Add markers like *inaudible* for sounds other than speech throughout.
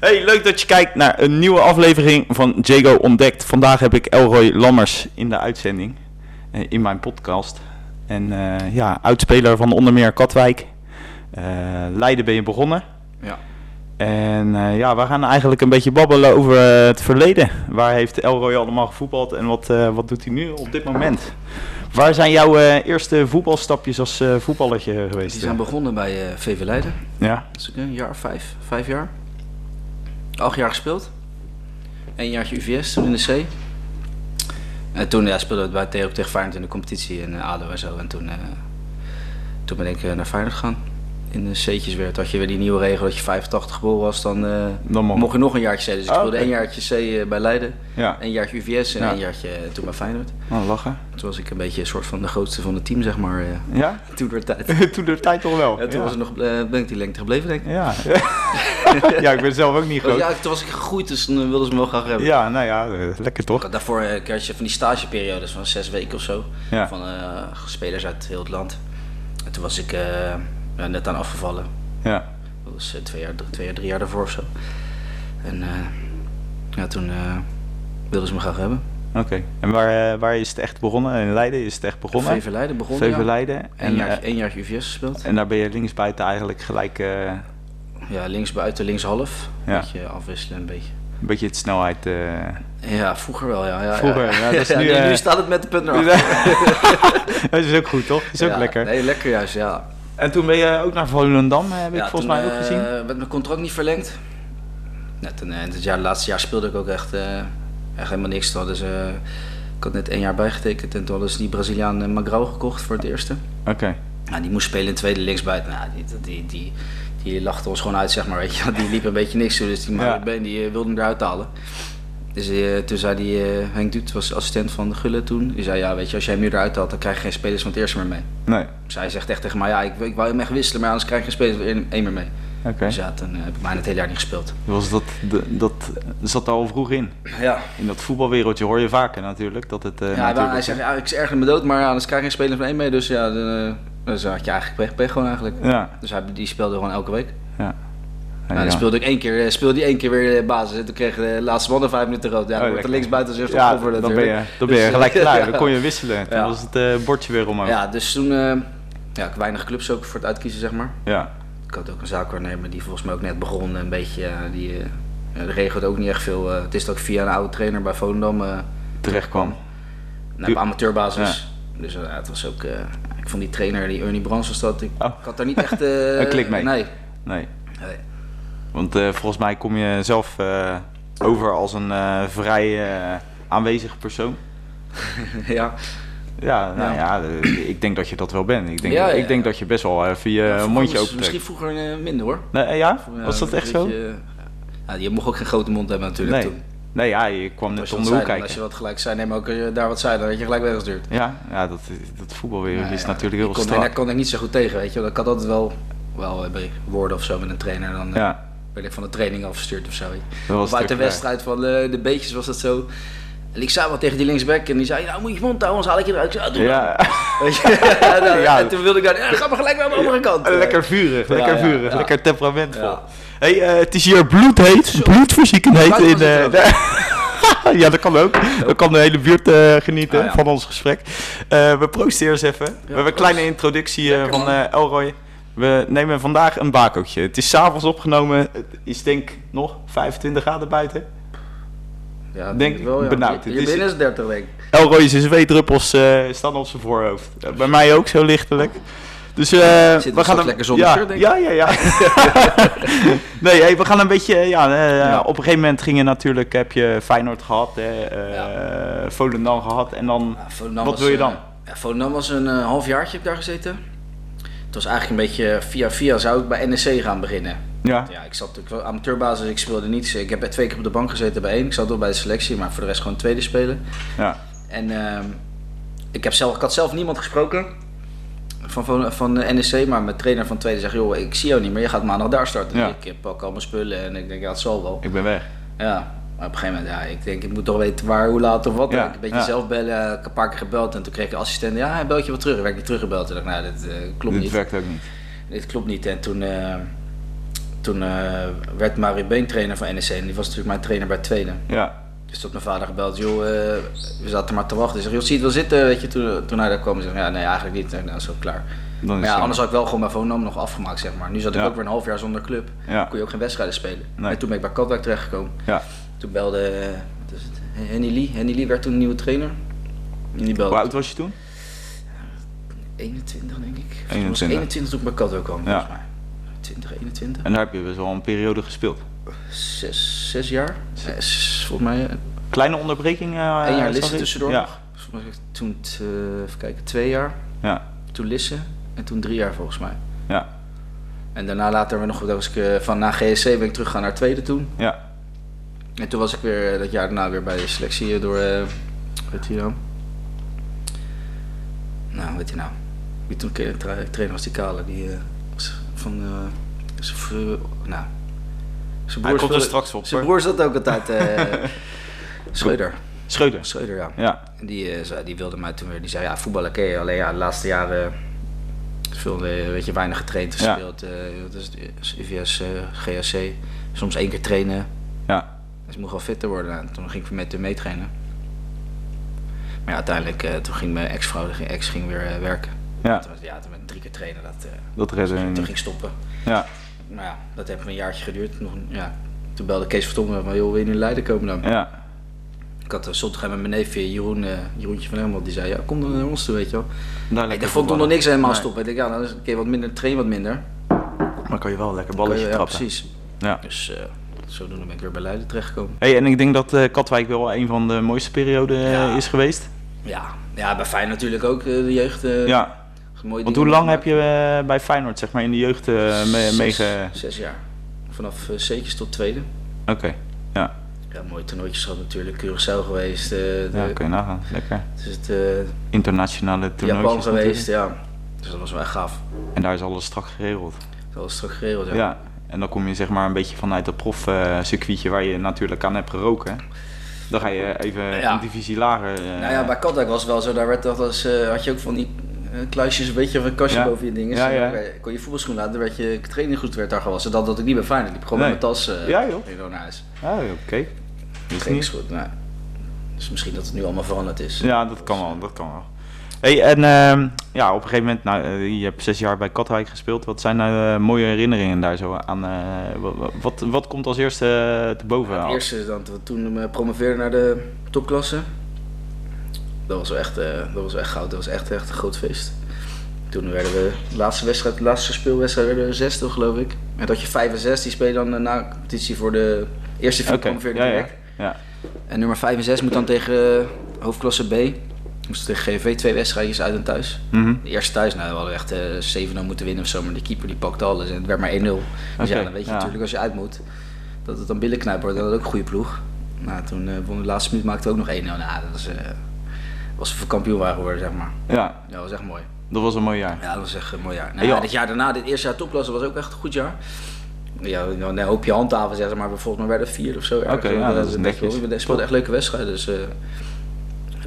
Hey, leuk dat je kijkt naar een nieuwe aflevering van Jago Ontdekt. Vandaag heb ik Elroy Lammers in de uitzending, eh, in mijn podcast. En eh, ja, uitspeler van onder meer Katwijk. Eh, Leiden ben je begonnen. Ja. En eh, ja, we gaan eigenlijk een beetje babbelen over eh, het verleden. Waar heeft Elroy allemaal gevoetbald en wat, eh, wat doet hij nu op dit moment? Waar zijn jouw eh, eerste voetbalstapjes als eh voetballertje geweest? Die zijn begonnen bij eh, VV Leiden. Ja, Dat is ook een jaar, vijf, vijf jaar. Acht jaar gespeeld. Eén jaartje UVS, toen in de C. En toen ja, speelden we bij Theo tegen Feyenoord in de competitie in eh, ADO en zo. En toen, eh, toen ben ik eh, naar Feyenoord gegaan. In de C'tjes weer. Toen had je weer die nieuwe regel dat je 85 geboren was, dan eh, dan mogen mocht je nog een jaartje C. Dus ik Oh, speelde oké. één jaartje C eh, bij Leiden, Ja, één jaartje UVS en Ja. één jaartje eh, toen bij Feyenoord. nou lachen. Toen was ik een beetje een soort van de grootste van het team, zeg maar, eh, Ja? *laughs* toen door tijd. *laughs* Toen de tijd toch wel. Ja, toen ja. was het nog, eh, ben ik die lengte gebleven, denk ik. Ja. *laughs* ja, ik ben zelf ook niet Oh, groot. Ja, toen was ik gegroeid, dus dan wilden ze me wel graag hebben. Ja, nou ja, eh, lekker Ik toch? had Daarvoor eh, kreeg je van die stageperiodes van zes weken of zo. Ja. Van eh, spelers uit heel het land. En toen was ik eh, ja, net aan afgevallen. Ja. Dat was eh, twee, jaar, twee jaar, drie jaar daarvoor of zo. En eh, ja, toen eh, wilden ze me graag hebben. Oké. En waar, eh, waar is het echt begonnen? In Leiden is het echt begonnen? VV Leiden begon VV ja. Leiden. Eén En, jaartje, eh, één jaartje UVS gespeeld. en daar ben je linksbuiten eigenlijk gelijk eh, Ja, links buiten, links half. Ja. Beetje afwisselen een beetje. een beetje het snelheid... eh, Ja, vroeger wel, ja. *laughs* ja Vroeger, ja, dat is nu, nu, eh, nu staat het met de punt erachter. *laughs* dat is ook goed toch? Dat is ook Ja, lekker. Nee, lekker juist, ja. En toen ben je ook naar Volendam, heb ik Ja, volgens toen, mij ook eh, gezien. werd mijn contract niet verlengd. Net een, het jaar, laatste jaar speelde ik ook echt, eh, echt helemaal niks. Toen hadden ze, ik had net één jaar bijgetekend en toen hadden ze die Braziliaan eh, Magrao gekocht voor het eerste. Oké. Nou, die moest spelen in tweede linksbuiten. Nou, die, die, die, die lachte ons gewoon uit, zeg maar. Weet je. wel. Die liep een beetje niks toe, dus die, Ja. ja. die eh, wilde hem eruit halen. Dus eh, toen zei die, eh, Henk Duut was assistent van de Gullen toen. Die zei, ja, weet je, als jij hem nu eruit haalt, dan krijg je geen spelers van het eerste meer mee. Nee. Zij zegt echt tegen mij, ja, ik, ik wou hem echt wisselen, maar anders krijg je geen spelers één meer mee. Oké. Dus ja, toen eh, heb ik bijna het hele jaar niet gespeeld. Was dat, de- dat zat daar al vroeg in. Ja, In dat voetbalwereldje hoor je vaker natuurlijk dat het... eh, ja hij, natuurlijk- hij zegt, ja, ik erger me dood, maar ja, anders krijg je geen speler van één mee. Dus ja, dan, eh, dus had je eigenlijk pech, pech gewoon eigenlijk. Ja. Dus hij, die speelde gewoon elke week. ja. nou, dan speelde ik één keer, eh, speelde hij één keer weer eh, basis. En toen kreeg de laatste man er vijf minuten rood. Ja, dan Oh, wordt lekker. er links buiten zijn Ja, voor dan ben je, dan ben je Dus, gelijk eh, klaar. *laughs* ja. Dan kon je wisselen. Toen Ja. was het eh, bordje weer omhoog. Ja. Ja, dus toen, eh, ja, ik weinig clubs ook voor het uitkiezen, zeg maar. Ja. Ik had ook een zaakwaarnemer die volgens mij ook net begon. Een beetje, eh, die eh, ja, die regelt ook niet echt veel. eh, het is ook via een oude trainer bij Volendam. eh, Terecht kwam. Nou, op amateurbasis. Dus eh, het was ook. eh, ik vond die trainer, die Ernie Brands was dat. Ik, Oh. ik had daar niet *laughs* echt. eh, Een klik mee. Nee. Nee. nee. *laughs* Want eh, volgens mij kom je zelf eh, over als een eh, vrij eh, aanwezige persoon. ja. Eh, Ja, nou ja, Ja. eh, ik denk dat je dat wel bent. Ik denk, Ja, ja, ik denk ja. dat je best wel even je mondje Misschien- open Misschien vroeger eh, minder hoor. Nee, eh, ja? Vroeger, Was eh, dat een echt zo? beetje, eh, ja, je mocht ook geen grote mond hebben natuurlijk Nee. toen. Nee, ja, je kwam Als net je, om wat de zei, hoek dan, als je kijken. wat gelijk zei, nee, maar ook als je daar wat zei, dan werd je gelijk weggestuurd. Ja, ja dat, dat voetbalwereld Nou is ja, natuurlijk ik heel kon, en Daar strak. kon ik niet zo goed tegen, weet je. wel. Ik had altijd wel, wel eh, bij woorden of zo met een trainer. Dan eh, Ja. werd ik van de training afgestuurd of zo. weet je. Dat was Of uit de natuurlijk, eh, wedstrijd van eh, de beetjes was dat zo. En ik zei wat tegen die linksback en die zei, nou moet je je mond houden, anders haal ik je eruit. Ik zei, "Ah, doe maar." Ja, Weet je? *laughs* Ja, nou, Ja. En toen wilde ik dan, "Ja, ga maar gelijk naar de andere *laughs* kant. eh. lekker vurig, Ja, lekker ja, vurig, ja. lekker temperamentvol. Ja. Hey, eh, het is hier bloedheet, bloedverziekend heet. Buiten In, was het eh, *laughs* ook. de- ja, dat kan ook. Dan kan de hele buurt eh, genieten Ah, ja. van ons gesprek. Eh, we proosten eerst even. we hebben een proost. kleine introductie eh, van eh, Elroy. We nemen vandaag een bakootje. Het is s'avonds opgenomen. Het is denk ik nog 25 graden buiten. Ja, dat Denk ik ik benauwd. Hier Het is- binnen is 30 weken. Elroy zijn zweetdruppels eh, staan op zijn voorhoofd. Eh, bij mij ook zo lichtelijk. Dus eh, Zit we een gaan soort hem- lekker zonder ja, shirt, denk ik. Ja, ja, *laughs* ja. nee, hey, we gaan een beetje. eh, Ja, eh, Ja. Op een gegeven moment ging je natuurlijk. Heb je Feyenoord gehad, hè, eh, Volendam gehad. En dan. Ja, Volendam Wat was, wil je dan? eh, ja, Volendam was een eh, half halfjaartje heb ik daar gezeten. Het was eigenlijk een beetje eh, via via zou ik bij NEC gaan beginnen. Ja, Ja, ik zat natuurlijk wel amateurbasis, ik speelde niets. Ik heb twee keer op de bank gezeten bij één. Ik zat wel bij de selectie, maar voor de rest gewoon tweede spelen. ja. En ehm, ik, heb zelf, ik had zelf niemand gesproken van, van, van de NEC, maar mijn trainer van tweede zegt: Joh, ik zie jou niet meer, je gaat maandag daar starten. Ja. Ik eh, pak al mijn spullen en ik denk: Ja, het zal wel. Ik ben weg. Ja, maar op een gegeven moment, ja, ik denk: Ik moet toch weten waar, hoe laat of wat. Ja, Ik een beetje ja. zelf bellen, ik heb een paar keer gebeld en toen kreeg ik een assistent: Ja, hij belt je wel terug. Ik werd niet teruggebeld. Toen dacht ik: Nou, dit eh, klopt Dit niet. werkt ook niet. Dit klopt niet. En toen, eh, toen eh, werd Mario Been trainer van NEC. En die was natuurlijk mijn trainer bij Tweede. Ja. Dus toen had mijn vader gebeld, joh, eh, we zaten maar te wachten. Hij zegt, joh, zie je het wel zitten? Weet je, toen, toen hij daar kwam, zei ik, ja, nee, eigenlijk niet. En nou, zo klaar. Dan is Maar ja, het anders Oh, zo. had ik wel gewoon mijn voornaam nog afgemaakt, zeg maar. Nu zat ik Ja. ook weer een half jaar zonder club. Ja. Kon je ook geen wedstrijden spelen. Nee. En toen ben ik bij Katwijk terechtgekomen. Ja. Toen belde, eh, wat is het, Henny Lee. Henny Lee werd toen een nieuwe trainer. En die belde. Hoe oud was je toen? 21, denk ik. 21. 21 toen ik bij Katwijk kwam, Ja. volgens mij. 20, 21. En daar heb je best wel een periode gespeeld. Zes, zes jaar. Zes, volgens mij. eh, Kleine onderbreking. eh Eén jaar zag Lisse ik? tussendoor Ja. nog. Volgens mij toen, t- eh, even kijken, twee jaar. Ja. Toen Lisse. En toen drie jaar, volgens mij. Ja. En daarna later we nog, dat was ik, eh, van na GSC ben ik teruggegaan naar tweede toen. Ja. En toen was ik weer eh, dat jaar daarna weer bij de selectie eh, door, eh weet je nou? Nou, weet je nou. Wie toen keer tra- trainer was die Kale, die eh, was van, eh, zijn vr- nou. Zijn Hij komt speelde- er straks op, Zijn hoor. broer zat ook *laughs* altijd, eh Schreuder. Schreuder. Schreuder, ja. Ja. En die, eh, zei- die wilde mij toen weer, die zei ja, voetballen ken je, alleen ja, de laatste jaren veel, eh, weet je, weinig getraind Ja. gespeeld. eh dat is het, eh, UVS, eh, GHC, soms één keer trainen. Ja. Dus ik moest wel fitter worden. En toen ging ik met hem meetrainen. Maar ja, uiteindelijk, eh, toen ging mijn ex-vrouw, die ging- ex ging weer eh, werken. Ja. Toen, was- ja, toen ben ik drie keer trainen, dat, eh, Dat redden we toen niet. ging ik stoppen. Ja. Maar ja, dat heeft een jaartje geduurd. Nog, een- ja. Toen belde Kees Vertongen van, joh, wil je nu in Leiden komen dan? Ja. Ik had eh, zondag met mijn neef eh, Jeroen, eh, Jeroentje van Helmond, die zei, ja, kom dan naar ons toe, weet je wel. Daar Ik vond toen nog niks helemaal Nee. stoppen. Ik dacht, ja, dan is het een keer wat minder, train wat minder. Maar kan je wel lekker Alles balletje ja, trappen. precies. Ja. Dus eh, zodoende ben ik weer bij Leiden terechtgekomen. Hey, en ik denk dat eh, Katwijk wel een van de mooiste perioden eh, Ja. is geweest. Ja, ja bij Feyenoord natuurlijk ook, eh, de jeugd. eh, ja. mooie Want dingen hoe lang heb meegemaakt. je eh, bij Feyenoord zeg maar in de jeugd eh mee, Zes- meege... Zes jaar. Vanaf eh, C'tjes tot tweede. Oké, ja. Ja, mooie toernooitjes gehad natuurlijk. Curaçao geweest. eh, de- Ja, kun je nagaan. Lekker. het is het, eh, Internationale toernooitjes Japan geweest, natuurlijk. ja. Dus dat was wel echt gaaf. En daar is alles strak geregeld. Dat was strak geregeld, Ja. ja. En dan kom je zeg maar een beetje vanuit dat profcircuitje waar je natuurlijk aan hebt geroken. hè. Dan ga je even Ja. een divisie lager. eh, Nou ja, bij Katwijk was het wel zo. Daar werd dat als, eh, had je ook van die eh, kluisjes, een beetje of een kastje Ja. boven je dingen. Ja, ja. Dan kon je voetbalschoen laten, dan werd je traininggoed werd daar gewassen. Dat dat ik niet bij Feyenoord liep. Gewoon Nee. met mijn tas eh Ja, joh. ging door naar huis. Ah, oké. Dus niet... Trainingsgoed, nou. Dus misschien dat het nu allemaal veranderd is. Ja, dat kan wel. Dat kan wel. Hey, en ehm, ja, op een gegeven moment, nou, eh, je hebt zes jaar bij Katwijk gespeeld. Wat zijn nou eh, mooie herinneringen daar zo aan? eh, wa- wa- wat, wat komt als eerste eh, te boven? Het eerste is dan dat we toen eh, promoveerden naar de topklasse. Dat was wel echt, eh, dat was wel echt goud. Dat was echt, echt een groot feest. Toen werden we, de laatste wedstrijd, de laatste speelwedstrijd, werden we zesde geloof ik. En dat je vijf en zes, die spelen dan eh, na competitie voor de eerste vier Oké, promoveerde ja, ja, direct. ja. En nummer vijf en zes moet dan tegen eh, hoofdklasse B. Moest tegen GV twee wedstrijdjes uit en thuis. Mhm. De eerste thuis, nou, we hadden echt eh 7-0 moeten winnen of zo, maar de keeper die pakte alles en het werd maar 1-0. Dus Oké, ja, dan weet je ja. natuurlijk als je uit moet dat het dan billenknijp wordt en dat ook een goede ploeg. Nou, toen eh, won de laatste minuut maakte ook nog 1-0. Nou, dat was, eh, was we kampioen waren geworden, zeg maar. Ja, Ja, dat was echt mooi. dat was een mooi jaar. Ja, dat was echt een mooi jaar. Hey, Nou, joh. ja, dit jaar daarna, dit eerste jaar topklasse, was ook echt een goed jaar. Ja, dan hoop je handhaven, zeg maar, maar volgens mij werden vier of zo. eh, Oké, ja, dat is netjes. We speelden echt leuke wedstrijden, dus eh,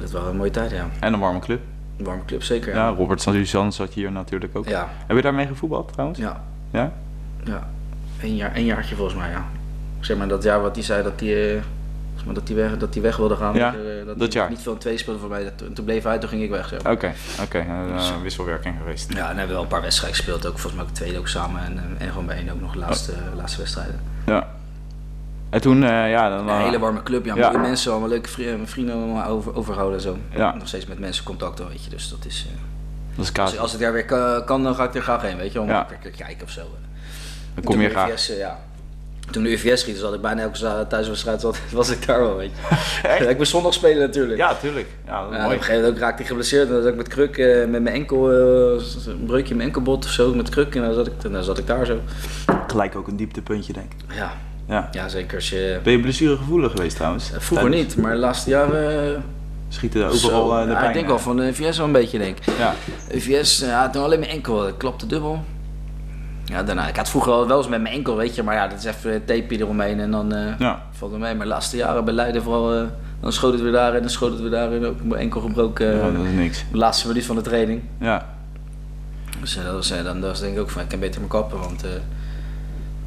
dat waren een mooie tijd, ja. En een warme club. Een warme club, zeker. Ja, Ja, Robert Suzanne zat hier natuurlijk ook. ja. Heb je daarmee gevoetbald trouwens? ja. Ja? Ja, een jaar, één jaartje volgens mij, ja. Zeg maar dat jaar wat hij zei dat hij, eh, zeg maar, dat hij, weg, dat hij weg wilde gaan. Ja, dat, eh, dat dat hij jaar. Niet veel in twee speelde voor mij. Dat, toen toen bleef hij, toen ging ik weg. Zeg Oké, maar. oké. eh, Dus- eh, wisselwerking geweest. Ja, en hebben we wel een paar wedstrijden gespeeld. Ook volgens mij ook tweede ook samen. En, eh, en gewoon bij één ook nog de laatste, eh, laatste wedstrijden. Ja. En toen, eh, ja, dan... Een eh, hele warme club. Ja, Ja. mooie mensen. Allemaal leuke vri- eh, vrienden allemaal over, overhouden en zo. Ja. Nog steeds met mensen contact al, weet je. Dus dat is... eh, Dat is als, kaas. als het daar weer ka- kan, dan ga ik er graag heen, weet je. Om Ja. een keer- keer kijken of zo. eh. Dan kom je Toen de graag. UVS, eh, ja. Toen de UVS ging, zat ik bijna elke za- thuiswedstrijd, zat, *laughs* was ik daar wel, weet je. *laughs* Echt? ik moest zondag spelen natuurlijk. Ja, tuurlijk. Ja, dat Ja, is en mooi. op een gegeven moment ook raakte ik geblesseerd. En dan zat ik met kruk, eh, met mijn enkel, eh, een breukje in mijn enkelbot of zo, met kruk. En dan zat ik, en dan zat ik daar zo. Gelijk ook een dieptepuntje, denk ik. Ja, Ja. ja zeker als je... Ben je blessuregevoelig geweest trouwens? Eh, Vroeger Tijdens- niet, maar de laatste jaren... eh, Schieten er zo. overal eh, de Ja, pijn Ik denk uit. wel van de UVS wel een beetje, denk ik. Ja. UVS, ja, toen alleen mijn enkel, dat klapte dubbel. Ja, daarna, ik had vroeger al wel eens met mijn enkel, weet je, maar ja, dat is even een tapeje eromheen en dan eh, Ja. valt het mee. Maar de laatste jaren bij Leiden vooral, eh, dan schoot het weer daar en dan schoot het weer daar en ook mijn enkel gebroken. eh, Ja, dat is niks. de laatste minuut van de training. Ja. Dus eh, dat was, eh, dan dat was denk ik ook van, ik kan beter me kappen, want eh,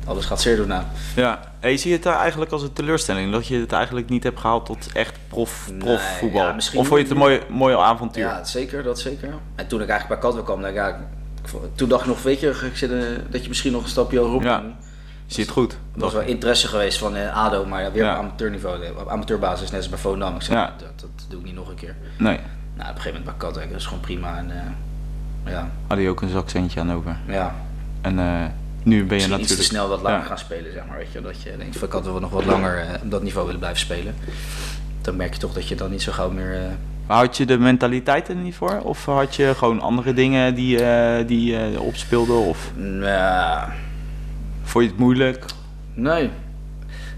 alles gaat zeer doen nou. Ja. En je ziet het daar eigenlijk als een teleurstelling. Dat je het eigenlijk niet hebt gehaald tot echt prof, Nee, prof voetbal. ja, misschien of vond je het een mooi, mooi avontuur? Ja, dat zeker, dat zeker. En toen ik eigenlijk bij Katwijk kwam, dacht ik, ja, ik vo- toen dacht ik nog, weet je, ik zit, eh, dat je misschien nog een stapje hoger op Ja. kan. Je ziet het goed. Er was wel interesse geweest van eh, ADO, maar ja, weer Ja. op amateurniveau, eh, op amateurbasis, net als bij Volendam. Ik zei, Ja. dat, dat doe ik niet nog een keer. Nee, Nou, op een gegeven moment bij Katwijk, dat is gewoon prima. En, eh, ja, had je ook een zakcentje aan over. ja. En eh, nu ben je Misschien natuurlijk... iets te snel wat langer Ja. gaan spelen, zeg maar. Weet je, dat je denkt, van, ik had wel nog wat langer eh, op dat niveau willen blijven spelen. Dan merk je toch dat je dan niet zo gauw meer... eh, Maar had je de mentaliteit er niet voor? Of had je gewoon andere dingen die, eh, die eh, opspeelden? Of nou, vond je het moeilijk? Nee.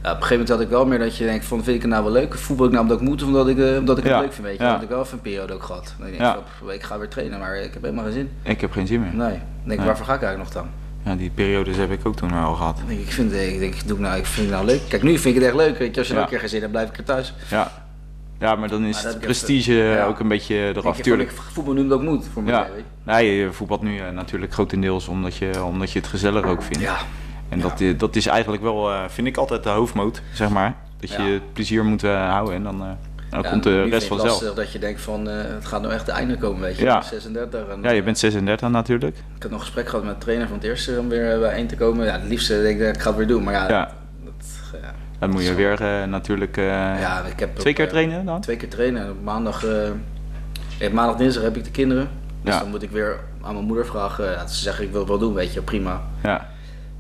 Ja, op een gegeven moment had ik wel meer dat je denkt van vind ik het nou wel leuk? Voetbal ik nou dat ik moet of omdat ik, eh, omdat ik het Ja, leuk vind? Weet je? ja. Dat had ik wel even een periode ook gehad. Dan denk ik, Ja. van, pff, ik ga weer trainen, maar ik heb helemaal geen zin. Ik heb geen zin meer. Nee. Dan denk ik, Nee. waarvoor ga ik eigenlijk nog dan? Ja, die periodes heb ik ook toen al gehad. Dan denk ik, ik vind, eh, ik denk, doe ik nou, ik vind het nou leuk. Kijk, nu vind ik het echt leuk. Weet je, als je Ja. nog een keer geen zin hebt, blijf ik er thuis. Ja, ja maar dan is Maar dat het heb ik even- prestige ja. ook een beetje Denk eraf. je, Tuurlijk. van, ik voetbal nu omdat ik moet voor Ja. mezelf. weet Nee, je voetbalt nu eh, natuurlijk grotendeels omdat je, omdat je het gezellig ook je. vindt. Ja. En dat, i- dat is eigenlijk wel, eh, vind ik altijd de hoofdmoot, zeg maar. Dat je Ja. het plezier moet eh, houden en dan, eh, dan Ja, komt nu de vind rest ik het vanzelf. lastig dat je denkt van eh, het gaat nou echt de einde komen, weet je. Ja. 36 en eh, Ja, je bent 36 natuurlijk. Ik had nog een gesprek gehad met de trainer van het eerste om weer eh, bijeen te komen. Ja, het liefste denk ik, ik ga het weer doen. Maar ja, Ja. dat, ja. Dan moet je Zo. weer eh, natuurlijk eh, Ja, ik heb twee op, keer eh, trainen dan. Twee keer trainen. En op maandag, eh, eh, maandag, dinsdag heb ik de kinderen. Dus Ja. dan moet ik weer aan mijn moeder vragen. eh, ja, ze zeggen ik wil het wel doen, weet je, prima. Ja,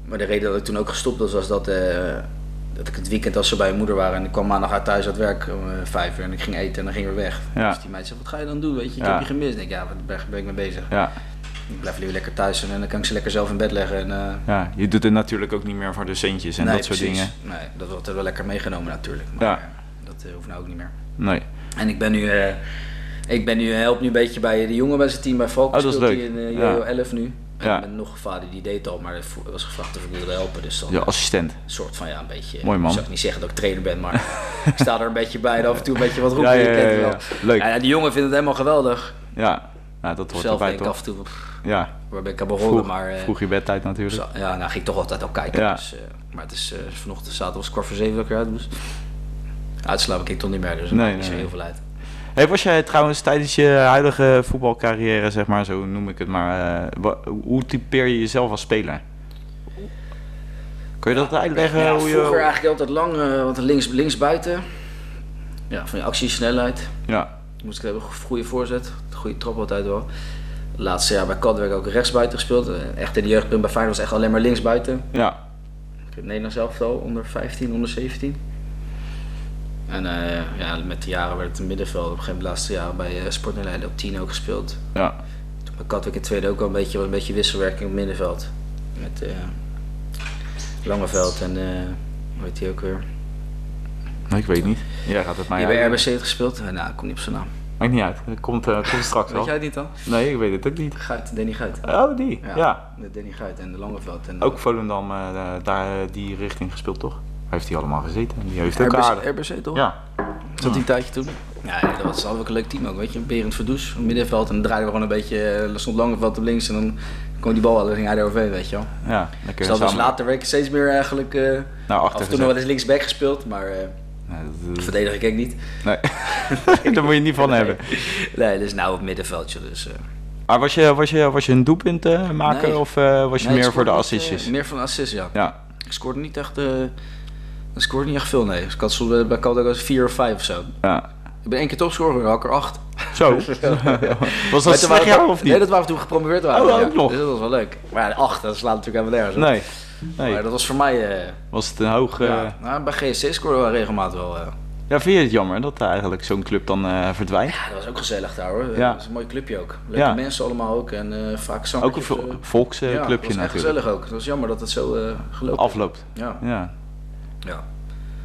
Maar de reden dat ik toen ook gestopt was, was dat, eh, dat ik het weekend als ze bij mijn moeder waren en ik kwam maandag uit thuis uit werk om eh, vijf uur en ik ging eten en dan ging ik weer weg. Ja. Dus die meid zei, wat ga je dan doen, weet je, ik Ja. heb je gemist. Ik denk, ja, waar ben, ben ik mee bezig? ja, Ik blijf liever lekker thuis en dan kan ik ze lekker zelf in bed leggen. En, eh, ja, je doet het natuurlijk ook niet meer voor de centjes en nee, dat soort precies. dingen. Nee, dat wordt er wel lekker meegenomen natuurlijk. Maar Ja. eh, dat eh, hoeft nou ook niet meer. Nee. En ik ben nu, eh, ik ben nu, eh, help nu een beetje bij de jongen bij zijn team bij Valk. Oh, dat is Speelt leuk. hij in eh, Ja. JO 11 nu. En Ja. ik ben nog een vader die deed het al, maar er vo- was gevraagd of ik wilde helpen. Dus dan Je assistent. een soort van ja, een beetje. Mooi man. Ik zou niet zeggen dat ik trainer ben, maar *laughs* ik sta er een beetje bij en af en toe een beetje wat roepen. Ja, je ja, kent het ja, wel. ja. Leuk. Ja, die jongen vindt het helemaal geweldig. Ja, nou, dat hoort Zelf erbij denk ik toch? af en toe, pff, Ja, waar ben ik aan begonnen, vroeg, maar... eh, vroeg je bedtijd natuurlijk. zo- ja, nou ging ik toch altijd al kijken. Ja. Dus, eh, maar het is eh, vanochtend zaterdag was kwart voor zeven dat ik eruit moest. Uitslapen ik toch niet meer, dus dat Nee, maakt niet nee, zo nee. heel veel uit. Hey, was jij trouwens tijdens je huidige voetbalcarrière, zeg maar, zo noem ik het maar, eh, wa- hoe typeer je jezelf als speler? Kun je dat uitleggen? Ja, eh, hoe je, vroeger eigenlijk altijd lang, eh, want links, links buiten. Ja, van je actie, snelheid. Ja, Moest ik hebben, go- goede voorzet, goede trap altijd wel. Laatste jaar bij Katwijk ook rechts buiten gespeeld. Eh, Echt in de jeugdpunt bij Feyenoord was echt alleen maar links buiten. ja, Ik heb Nederlands elftal, onder 15, onder 17. En eh, ja, met de jaren werd het een middenveld. Op een gegeven moment laatste jaren bij eh, Sport Nederland op 10 ook gespeeld. ja, Toen bij Katwijk in het tweede ook al een beetje, een beetje wisselwerking op het middenveld. Met eh, Langeveld en eh hoe heet die ook weer? ik weet niet. Jij gaat het mij Je hebt bij uitleggen. RBC heeft gespeeld? Eh, Nou, ik kom niet op zijn naam. Maakt niet uit, dat komt, eh, *laughs* komt straks Weet wel. jij het niet dan? Nee, ik weet het ook niet. Guit, Danny Guit. Oh, die, ja. De Danny Guit en de Langeveld. En Ook Volendam, eh, eh, daar eh, die richting gespeeld, toch? Waar heeft hij allemaal gezeten? Die heeft ook RBC, aardig. RBC toch? Ja, Zat die een tijdje toen? Ja, dat was altijd ook een leuk team ook, weet je. Berend Verdoes, op middenveld. En dan draaiden we gewoon een beetje, eh, er stond Langeveld op links. En dan kwam die bal en dan ging hij er overheen, weet je wel. ja, lekker Dus dat was samen later werd ik steeds meer eigenlijk... eh naar af achter en toe nog wel gezet. eens linksback gespeeld, maar eh Nee, dat- dat- verdedig ik ook niet. *laughs* nee. *laughs* daar moet je niet van hebben. Nee, dus nou op middenveldje. Dus, eh. Maar Ah, was je, was je, was je een doelpunt eh, maken Nee. of eh, was je Nee, ik meer voor scoorde de niet, assistjes? eh, meer voor de assist, ja. Ja, Ik scoorde niet echt, eh ik scoorde niet echt veel, nee. Dus ik had soms bij- bij Kaldek was 4 of 5 of zo. ja. Ik ben één keer topscorer, geworden, had ik er 8. *laughs* Zo. was dat waren slecht jaar of niet? Nee, dat waren we toen we gepromoveerd waren. Oh, ja. ook nog. Dus dat was wel leuk. Maar ja, 8, dat slaat natuurlijk helemaal nergens op. nee. nee. Maar dat was voor mij... eh Was het een hoog... eh, ja. nou, bij GSC scoorden we regelmatig wel. eh. Ja, vind je het jammer dat eh, eigenlijk zo'n club dan eh, verdwijnt? Ja, dat was ook gezellig daar hoor. Ja. Dat is een mooi clubje ook. Leuke Ja. mensen allemaal ook. En eh, vaak Ook zangertjes. een eh, vo- ja, volksclubje dat was echt natuurlijk. gezellig ook. Het was jammer dat het zo eh gelopen is. Afloopt. Ja. Ja. ja.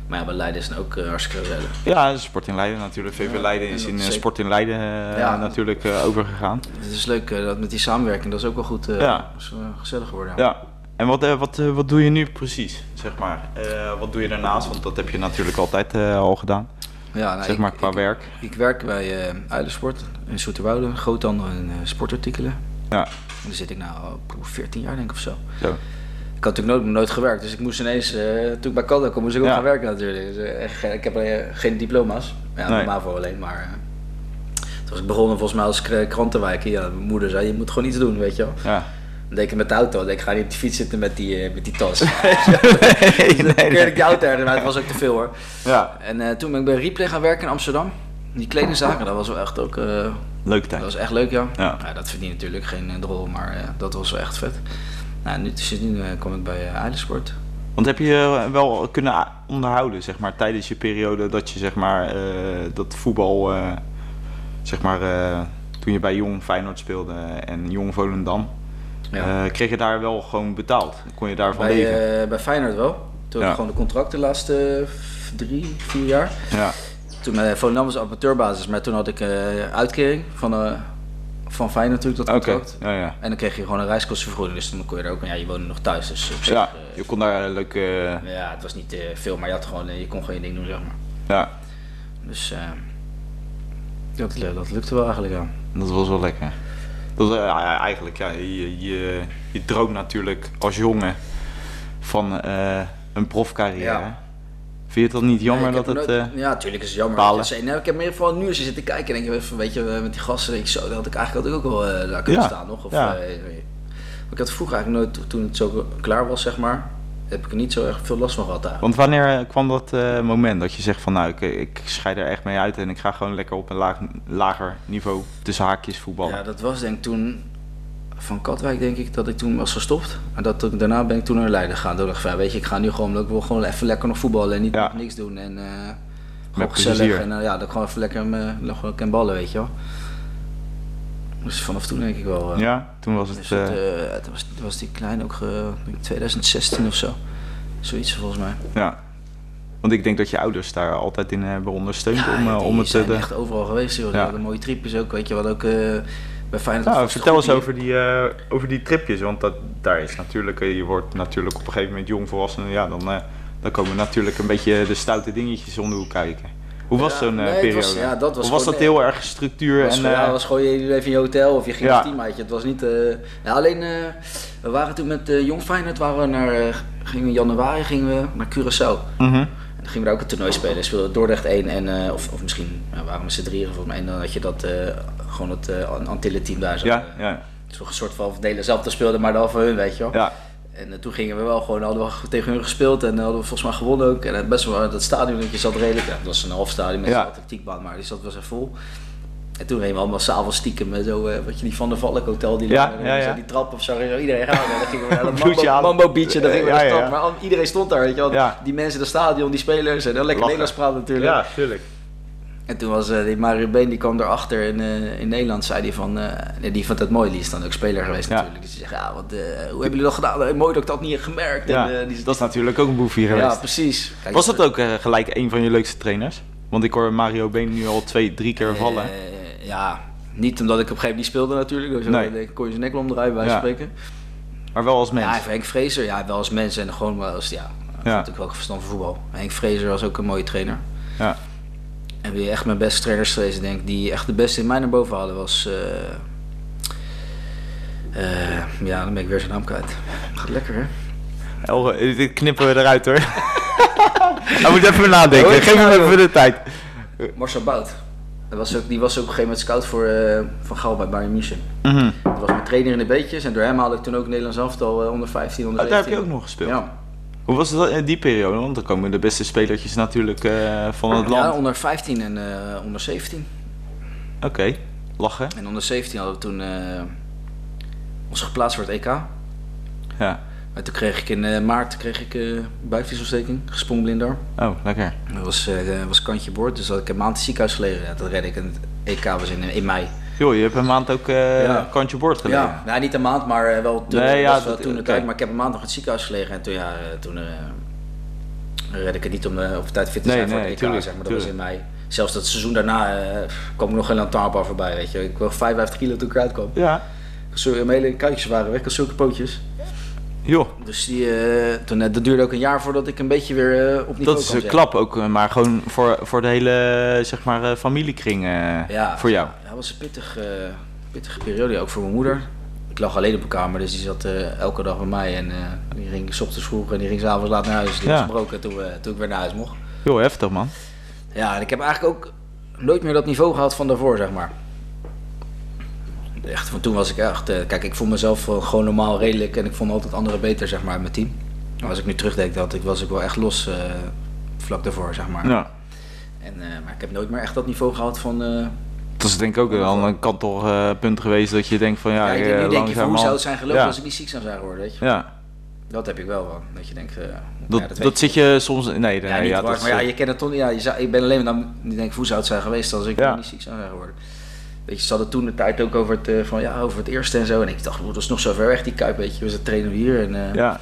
Maar ja, bij Leiden is het ook eh, hartstikke gezellig. ja, Sport in Leiden natuurlijk. VV Ja, Leiden en is dat in eh, zeker. Sport in Leiden eh, Ja. natuurlijk eh, overgegaan. Het is leuk eh, dat met die samenwerking, dat is ook wel goed eh, Ja. is, eh, gezellig geworden. Ja. En wat, eh, wat, eh, wat doe je nu precies, zeg maar? Eh, wat doe je daarnaast? Want dat heb je natuurlijk altijd eh, al gedaan, Ja, nou, zeg ik- maar, qua ik, werk. Ik werk bij eh Uilensport in Zoeterwoude, groothandel in eh, sportartikelen. Ja, En daar zit ik nou al 14 jaar denk ik of zo. zo. Ik Ik had natuurlijk nooit, nooit gewerkt, dus ik moest ineens, eh, toen ik bij Caldo kwam, moest ik ook Ja. gaan werken natuurlijk. Dus, eh, echt geen- ik heb eh, geen diploma's, ja, Nee. normaal voor alleen, maar eh, toen was ik begonnen volgens mij als kra- krantenwijker. Ja, mijn moeder zei, je moet gewoon iets doen, weet je wel. Ja. Dan deed ik het met de auto, dan denk ik, ga niet op de fiets zitten met die, eh, met die *laughs* tas. nee, dus dan nee. keerde ik die auto ergens, maar het was ook te veel hoor. Ja. En eh, toen ben ik bij Replay gaan werken in Amsterdam. Die kledingzaken, dat was wel echt ook... eh, Leuke dat tijd. was echt leuk, ja. Ja. Nou, dat verdient natuurlijk geen eh, drol, maar eh, dat was wel echt vet. Nou, nu, sinds nu eh, kom ik bij eh Eilensport. Want heb je eh, wel kunnen a- onderhouden, zeg maar, tijdens je periode dat je, zeg maar, eh, dat voetbal, eh, zeg maar, eh, toen je bij Jong Feyenoord speelde en Jong Volendam, Ja. eh, kreeg je daar wel gewoon betaald? Kon je daarvan bij, leven? eh, bij Feyenoord wel. Toen Ja. heb ik gewoon de contract de laatste eh, v- drie, vier jaar. ja. Toen bij Volendam was amateurbasis, maar toen had ik eh, uitkering van, eh, van Feyenoord natuurlijk, dat Oké. contract. Ja, ja. En dan kreeg je gewoon een reiskostenvergoeding, dus dan kon je er ook... Ja, je woonde nog thuis, dus op zich... Ja, eh, je kon daar leuk. eh, ja, het was niet eh, veel, maar je, had gewoon, eh, je kon gewoon je ding doen, zeg maar. ja, Dus eh, dat, eh, dat lukte wel eigenlijk, ja. dat was wel lekker. Dat, was, eh, ja, ja, eigenlijk, ja, je, je, je droomt natuurlijk als jongen van eh, een profcarrière. Ja. Vind je het dan niet jammer Nee, ik dat heb het. nooit- eh, ja, natuurlijk is het jammer. balen. Dat je- nee, ik heb meer vooral nu als je zit te kijken en denk je van, weet je, eh, met die gasten denk ik zo, dat had ik eigenlijk had ik ook wel eh, daar kunnen Ja, staan nog. Of, ja. eh, maar ik had vroeger eigenlijk nooit, toen het zo klaar was, zeg maar, heb ik er niet zo erg veel last van gehad daar. Want wanneer kwam dat eh, moment dat je zegt van nou, ik, ik scheid er echt mee uit en ik ga gewoon lekker op een laag, lager niveau tussen haakjes voetballen? Ja, dat was denk ik toen van Katwijk denk ik dat ik toen was gestopt. En dat, ik- daarna ben ik toen naar Leiden gegaan. Toen dacht ik van, ja, weet je, ik ga nu gewoon, ik wil gewoon even lekker nog voetballen en niet Ja. nog niks doen. En eh, gewoon Met gezellig plezier. en eh, ja, dat ik gewoon even lekker me, nog wel kan ballen, weet je wel. Dus vanaf toen denk ik wel. eh, Ja, toen was het. Dus dat, eh, eh, het was, het was die klein ook, eh, ik denk 2016 of zo. Zoiets volgens mij. ja. Want ik denk dat je ouders daar altijd in hebben ondersteund Ja, om, eh, die om het. zijn eh, de- echt overal geweest, joh. Ja. Ja. mooie tripjes ook, weet je wat ook eh, bij Feyenoord... Nou, was het vertel goed eens hier. over die, eh, over die tripjes, want dat, daar is natuurlijk, eh, je wordt natuurlijk op een gegeven moment jong volwassen, ja, dan, eh, dan komen natuurlijk een beetje de stoute dingetjes om de hoek kijken. Hoe was Ja, zo'n eh, nee, het periode? was- ja, dat was Hoe was gewoon, dat eh, heel erg structuur was, en... gewoon- ja, eh, was gewoon je liep even in je hotel of je ging Ja. als team uit. Het was niet. eh, nou, alleen eh, we waren toen met eh, Jong Feyenoord waren we naar, eh, gingen we in januari gingen we naar Curaçao. mhm. En dan gingen we daar ook een toernooi spelen. Speelde Dordrecht 1 en eh, of, of misschien ja, waren we met z'n drieën volgens mij. En dan had je dat eh, gewoon het eh Antillen team daar zo. ja, eh, ja, Toch een soort van delen zelf te speelden, maar dan voor hun, weet je wel. ja. En eh, toen gingen we wel gewoon, hadden we tegen hun gespeeld en eh, hadden we volgens mij gewonnen ook. En eh, best wel, dat stadion dat je zat redelijk, ja, het was een half stadion met Ja. een atletiekbaan, maar die zat was echt vol. En toen reden we allemaal s'avonds stiekem met zo, eh, wat je die Van der Valk hotel, die, Ja, daar, ja, zo ja. die trap of zo, zo iedereen gaan. En dan gingen we naar *laughs* dat Bloedje Mambo, aan. Mambo Beach en dan gingen we Ja, naar de ja, stad. ja. Maar al- iedereen stond daar, weet je wel. Ja. Die mensen in het stadion, die spelers en dan lekker Lachen. Nederlands praten natuurlijk. tuurlijk. En toen was eh, die Mario Been, die kwam erachter in, eh, in Nederland, zei die van, eh, nee, die vond het mooi, die is dan ook speler geweest Ja. natuurlijk. Dus die zegt, ja, wat, eh, hoe hebben jullie dat gedaan? Eh, mooi dat ik dat niet heb gemerkt. Ja, en, eh, die, dat is natuurlijk ook een boefje ja, geweest. precies. Kijk, was dat ook eh, gelijk een van je leukste trainers? Want ik hoor Mario Been nu al twee, drie keer vallen. eh, ja, niet omdat ik op een gegeven moment niet speelde natuurlijk. Dus Nee. dan kon je zijn nek wel omdraaien bij Ja. wijze van spreken. maar wel als mens. Ja, Henk Vrezer, ja, wel als mens en gewoon wel als, ja, ja. natuurlijk wel verstand van voetbal. Henk Vrezer was ook een mooie trainer. ja. En wie echt mijn beste trainers geweest, denk ik, die echt de beste in mij naar boven hadden, was. eh, eh, ja, dan ben ik weer zijn naam kwijt. Gaat lekker, hè? Elge, eh, dit knippen we eruit *laughs* hoor. Hij moet even nadenken. Oh, ik Geef ga hem even de tijd. Marcel Bout. Dat was ook, die was ook op een gegeven moment scout voor eh, Van Gaal bij Bayern München. Mhm. Dat was mijn trainer in de beetjes en door hem haalde ik toen ook Nederlands elftal eh, onder 15, onder Oh, daar heb 17. je ook nog gespeeld? Ja, Hoe was dat in die periode? Want dan komen de beste spelertjes natuurlijk eh, van het ja land. onder 15 en eh, onder 17. Oké, lachen. En onder 17 hadden we toen eh, ons geplaatst voor het EK. Ja. En toen kreeg ik in eh, maart kreeg ik eh buikvliesontsteking, gesprongen blinddarm. Oh, lekker. Dat was, eh, was kantje boord, dus had ik een maand in het ziekenhuis gelegen. Ja, dat redde ik. En het EK was in, in mei. Joh, je hebt een maand ook eh, Ja. kantje boord gedaan. Ja, nou, niet een maand, maar eh, wel toen. Nee, ja, was wel dat- toen de oké. tijd, maar ik heb een maand nog in het ziekenhuis gelegen. En toen, ja, eh, toen eh, redde ik het niet om eh, op tijd fit te Nee, zijn voor nee, het EK, tuurlijk, zeg maar. Dat tuurlijk. was in mei. Zelfs dat seizoen daarna eh, kwam ik nog geen lantaarnpaal voorbij, weet je. Ik woog 55 kilo toen ik eruit kwam. Ja. Zo- Mijn hele kuitjes waren weg, ik had zulke pootjes. Joh, Dus die, eh, toen, eh, dat duurde ook een jaar voordat ik een beetje weer eh, op niveau dat is kwam, een zeg. klap ook, eh, maar gewoon voor, voor de hele zeg maar, eh, familiekring eh, Ja. voor jou. Ja, dat was een pittig, eh, pittige periode, ook voor mijn moeder. ik lag alleen op mijn kamer, dus die zat eh, elke dag bij mij. En eh, die ging s ochtends vroeg en die ging s'avonds laat naar huis. Die Ja. was gebroken toen, we- toen ik weer naar huis mocht. Heel heftig, man. Ja, en ik heb eigenlijk ook nooit meer dat niveau gehad van daarvoor, zeg maar. Echt, van toen was ik echt... eh, kijk, ik voel mezelf wel gewoon normaal redelijk en ik vond altijd anderen beter, zeg maar, uit mijn team. Maar als ik nu terugdenk, dat ik, was ik wel echt los eh, vlak daarvoor, zeg maar. Ja. En, eh, maar ik heb nooit meer echt dat niveau gehad van... eh, Dat is denk ik ook wel een kantelpunt geweest dat je denkt van ja, ja, ik eh, denk, nu denk je, van, hoe langzamerhand- zou het zijn gelopen Ja. als ik niet ziek zou zijn geworden, weet je? Ja, Dat heb ik wel, wel. Dat je denkt... eh, dat, ja, dat, weet je. zit je soms... Nee, nee, Ja, niet ja, waar, dat is- eh, maar ja, je kent het toch. Ja, je zou, ik ben alleen maar dan ik denk hoe zou het zijn geweest als ik Ja. niet ziek zou zijn geworden. Weet je, ze hadden toen de tijd ook over het, eh, van, ja, over het eerste en zo. En ik dacht, "Oeh, dat is nog zo ver weg, die kuip, weet je. We zitten trainen we hier. En, eh, ja.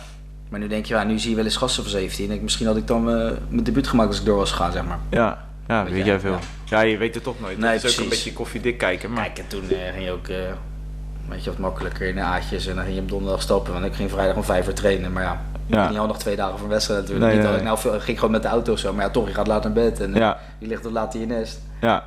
Maar nu denk je, ja, nu zie je wel eens gasten van 17. En ik, misschien had ik dan eh, mijn debuut gemaakt als ik door was gegaan, zeg maar. Ja, ja Weet weet, jij, jij veel. ja. Ja. je weet het toch nooit. Nee, Nee, het is ook een precies. beetje koffiedik kijken. Maar... Kijk, en toen eh, ging je ook, eh, weet je, wat makkelijker in de aatjes. En dan ging je op donderdag stappen. Want ik ging vrijdag om vijf uur trainen. Maar ja, Ja. niet al nog twee dagen van wedstrijd natuurlijk. Nee, niet nee, dat ik nou, veel- ging gewoon met de auto of zo. Maar ja, toch, je gaat laat naar bed. En eh, Ja. je ligt dan laat in je nest. Ja.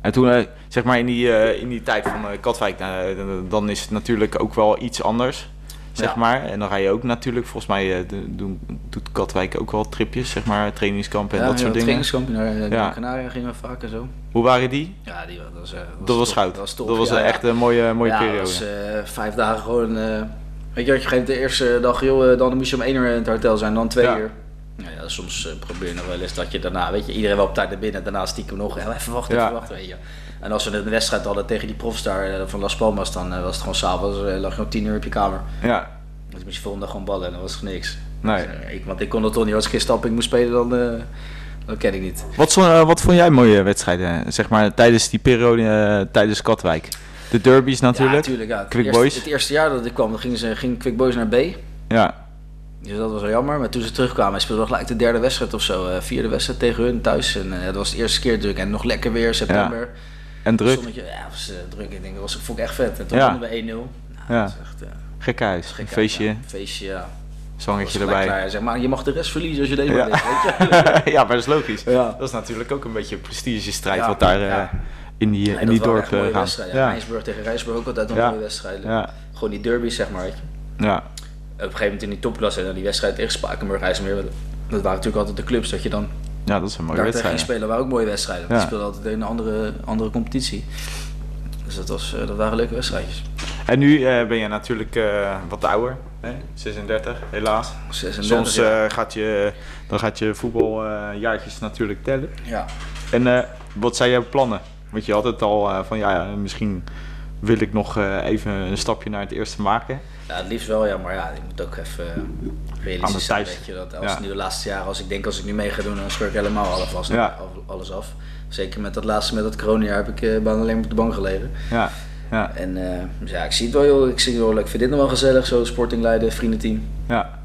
En toen, eh, zeg maar in die, eh, in die tijd van eh, Katwijk, nou, eh, dan is het natuurlijk ook wel iets anders. Zeg Ja. maar. En dan ga je ook natuurlijk, volgens mij eh, de- doen, doet Katwijk ook wel tripjes, zeg maar, trainingskampen en dat soort dingen. trainingskamp naar eh, Ja. Gran Canaria gingen we vaak en zo. Hoe waren die? Ja, die was, eh, was Dat was top. goud. Dat was, top, Dat was ja, eh, ja. echt een mooie, mooie ja, periode. dat was eh, vijf dagen gewoon... eh, weet je wat, je geeft de eerste dag, joh, eh, dan moest je om één uur in het hotel zijn, dan twee Ja. uur. Nou ja, soms eh, probeer je nog wel eens dat je daarna, weet je, iedereen wel op tijd naar binnen, daarna stiekem nog, eh, even wachten, Ja. even wachten, weet je. En als we een wedstrijd hadden tegen die profstar eh, van Las Palmas, dan eh, was het gewoon s'avonds, eh, lag je om tien uur op je kamer. Ja. Dus moest je volgende dag gewoon ballen en dat was niks. Nee. Dus, eh, ik, want ik kon dat toch niet, als ik geen stapping moest spelen, dan, eh dat ken ik niet. Wat, zo- eh, wat vond jij mooie wedstrijden, eh, zeg maar, tijdens die periode, eh, tijdens Katwijk? De derbies natuurlijk. Ja, tuurlijk, ja. Het Quick eerste- Boys. Het eerste jaar dat ik kwam, dan gingen ze, ging Quick Boys naar B. Ja. Dus dat was wel jammer. Maar toen ze terugkwamen, speelden we gelijk de derde wedstrijd of zo. eh, vierde wedstrijd tegen hun thuis. En eh, dat was de eerste keer natuurlijk. En nog lekker weer, september. En druk. Zonnetje, ja, was eh, druk. Ik denk, dat was, vond ik echt vet. En toen Ja. wonnen we 1-0. Nou, Ja. dat is echt, eh, Gekhuis. gek een uit, feestje, ja. Feestje, ja. zangetje Was gelijk erbij. klaar. Zeg maar, je mag de rest verliezen als je deze Ja. ja. weet je. *laughs* ja, maar dat is logisch. Ja. Dat is natuurlijk ook een beetje een prestigestrijd Ja, wat daar eh, ja. in die, En in dat die waren echt mooie dorpen gaat. wedstrijden. Ja. Ja. Rijnsburg tegen Rijnsburg ook altijd nog Ja. mooie wedstrijden. Ja. Gewoon die derbies, zeg maar. Weet je. Ja. op een gegeven moment in die topklasse en dan die wedstrijd tegen Spakenburg, IJsselmeer. Dat waren natuurlijk altijd de clubs dat je dan ja, dat is een mooie daar tegen ging wedstrijd. spelen. waren ook mooie wedstrijden. want Ja. Die speelden altijd in een andere, andere competitie. Dus dat, was, eh, dat waren leuke wedstrijdjes. En nu eh, ben jij natuurlijk eh, wat ouder, hè? 36 helaas. 36, Soms ja. eh, gaat je, dan gaat je voetbaljaartjes natuurlijk tellen. ja. En eh, wat zijn jouw plannen? Want je had het al eh, van ja, ja, misschien wil ik nog eh, even een stapje naar het eerste maken. ja, het liefst wel, ja, maar ja, ik moet ook even eh, Aan de realistisch zijn. tijd. Weet je, dat als Ja. nu de laatste jaren, als ik denk als ik nu mee ga doen, dan scheur ik helemaal alles, af- Ja. alles af. Zeker met dat laatste, met dat coronajaar, heb ik eh, bijna alleen maar op de bank gelegen. Ja, ja, En eh, dus ja, ik zie het wel, joh. Ik, zie het wel, ik vind dit nog wel gezellig, zo sporting leiden, vriendenteam. ja.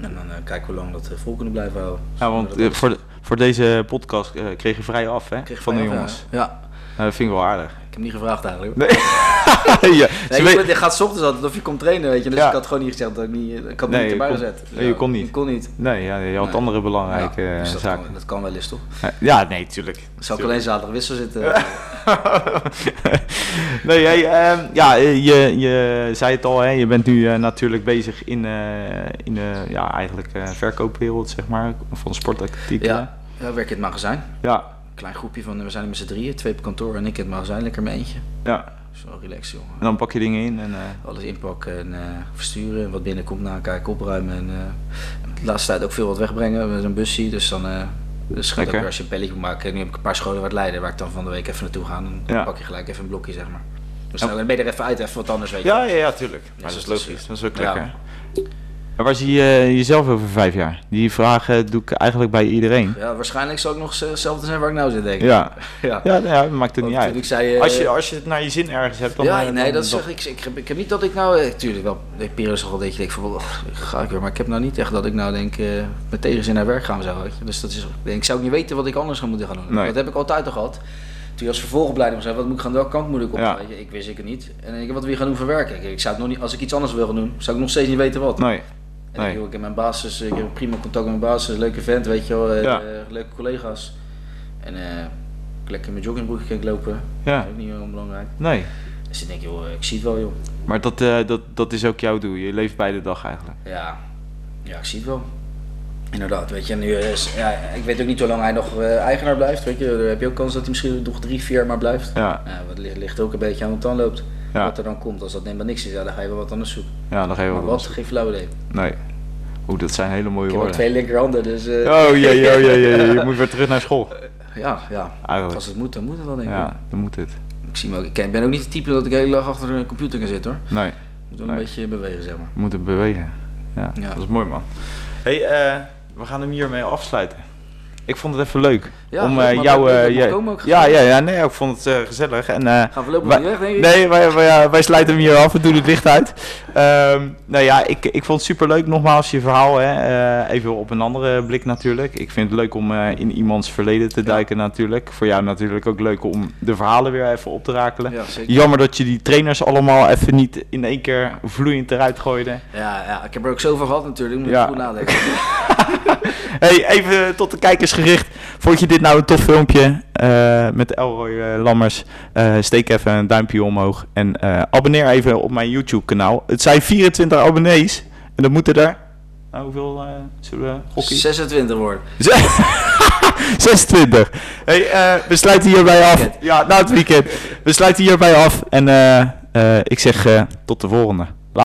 En dan eh, kijken hoe lang dat eh, vol kunnen blijven houden. Ja, want eh, voor, de- voor deze podcast eh, kreeg je vrij af, hè? Kreeg van de mij af, ja. jongens. Ja. Nou, dat vind ik wel aardig. *laughs* ik heb hem niet gevraagd eigenlijk. Nee. ja, Nee, ze je, weet- moet- je gaat 's ochtends altijd of je komt trainen, weet je. Dus Ja. ik had gewoon niet gezegd dat ik niet, ik had me Nee, niet erbij je kon- gezet. Dus nee, je ja, kon niet. Ik kon niet. nee, ja, je had Nee. andere belangrijke Ja, eh, dus dat, zaken. kan, dat kan wel eens toch? Ja, nee, tuurlijk. Zou ik Tuurlijk. alleen zaterdag wissel zitten? *laughs* nee, jij, ehm, ja, eh, je, je zei het al, hè, je bent nu eh, natuurlijk bezig in, eh, in de ja, eigenlijk, eh, verkoopwereld, zeg maar, van sportartikelen. Ja. ja, werk in het magazijn. ja, Klein groepje van, we zijn er met z'n drieën, twee per kantoor en ik in het magazijn, lekker mijn eentje. ja. Zo relax jongen. En dan pak je dingen in en... eh, Alles inpakken en eh, versturen. En wat binnenkomt na kijken, opruimen. En eh, de laatste tijd ook veel wat wegbrengen met een busje. Dus dan eh dus gaat ook Lekker. weer als je een pelletje moet maken. En nu heb ik een paar scholen wat Leiden waar ik dan van de week even naartoe ga. Dan Ja. pak je gelijk even een blokje, zeg maar. Dus dan ben je er even uit, even wat anders, weet je. ja, ja, ja, tuurlijk. Maar dus dat is dat is- logisch, dat is ook ja. lekker. En waar zie je eh, jezelf over vijf jaar? Die vraag eh, doe ik eigenlijk bij iedereen. Ja, waarschijnlijk zal ik nog z- hetzelfde zijn waar ik nou zit, denk ik. Ja, *laughs* ja. ja, nou ja maakt het Want niet toen ik uit. zei, eh, Als je, als je het naar je zin ergens hebt, dan... ja, eh, nee, dan- dat zeg ik. Ik heb, ik heb niet dat ik nou... Natuurlijk wel, de periode al dat je denkt van... "Oh, ga ik weer. Maar ik heb nou niet echt dat ik nou denk... eh met tegenzin naar werk gaan zou. Weet je. Dus dat is... Ik denk, ik zou ook niet weten wat ik anders ga moeten gaan doen. Nee. Dat heb ik altijd al gehad. Toen je als vervolgopleiding zei, wat moet ik gaan doen? Welke kant moet ik op? Ja. Weet je, ik wist ik het niet. En ik, wat wil je gaan doen voor werk? Ik, ik zou het nog niet, als ik iets anders wil gaan doen, zou ik nog steeds niet weten wat. Nee, En ik, nee. joh, ik heb mijn basis, ik heb een prima contact met mijn basis, leuke vent, weet je wel, eh, Ja. eh, leuke collega's. En eh, ik lekker in mijn joggingbroekje kan ik lopen, Ja. dat is ook niet heel onbelangrijk. Nee. Dus ik denk, joh, ik zie het wel, joh. Maar dat, eh, dat, dat is ook jouw doel. Je leeft bij de dag eigenlijk. Ja. ja, ik zie het wel. Inderdaad, weet je. En nu eh, is, ja, ik weet ook niet hoe lang hij nog eh, eigenaar blijft. Weet je, dan heb je ook kans dat hij misschien nog drie, vier jaar maar blijft. Ja, Ja, dat ligt, ligt ook een beetje aan hoe het dan loopt. Ja. Wat er dan komt. Als dat helemaal niks is, ja, dan ga je wel wat anders zoeken. ja dan geven we Maar wat? Geen flauw idee. Nee. Oeh, dat zijn hele mooie Ik heb ook woorden. twee linkerhanden, dus... eh, Oh jee, oh jee, jee, *laughs* jee. Je moet weer terug naar school. Ja, ja. Eigenlijk. Als het moet, dan moet het wel, denk ik. Ja, dan moet dit. Ik, zie me ook, ik ken- ben ook niet de type dat ik de hele dag achter een computer kan zitten, hoor. Nee, Moet wel Nee. een beetje bewegen, zeg maar. we moeten bewegen. Ja, Ja. dat is mooi man. hey, eh, we gaan hem hiermee afsluiten. Ik vond het even leuk. Ja, om leuk, eh, maar jou... leuk dat eh, je jij- mag komen ook. ja, ja, ja, nee, ik vond het eh, gezellig. En, eh, Gaan voorlopig Wa- niet weg, denk ik? Nee, wij, wij, eh, wij sluiten hem hier af. We doen het licht uit. Ehm, nou ja, ik, ik vond het superleuk. Nogmaals, je verhaal. Hè. Eh, even op een andere blik natuurlijk. Ik vind het leuk om eh, in iemands verleden te duiken natuurlijk. Voor jou natuurlijk ook leuk om de verhalen weer even op te rakelen. Ja, zeker. Jammer dat je die trainers allemaal even niet in één keer vloeiend eruit gooide. Ja, ja, ik heb er ook zoveel gehad natuurlijk, moet ik Ja. goed *laughs* nadenken. *laughs* Hey, even tot de kijkers gericht. Vond je dit nou een tof filmpje eh, met Elroy eh, Lammers? Eh, steek even een duimpje omhoog en eh, abonneer even op mijn YouTube kanaal. Het zijn 24 abonnees en dat moeten er... Nou, hoeveel eh, zullen we gokken? 26 worden. *laughs* Zes- 26. Hey, eh, we sluiten hierbij af. Weekend. Ja, na het weekend. We sluiten hierbij af en eh, eh, ik zeg eh, tot de volgende.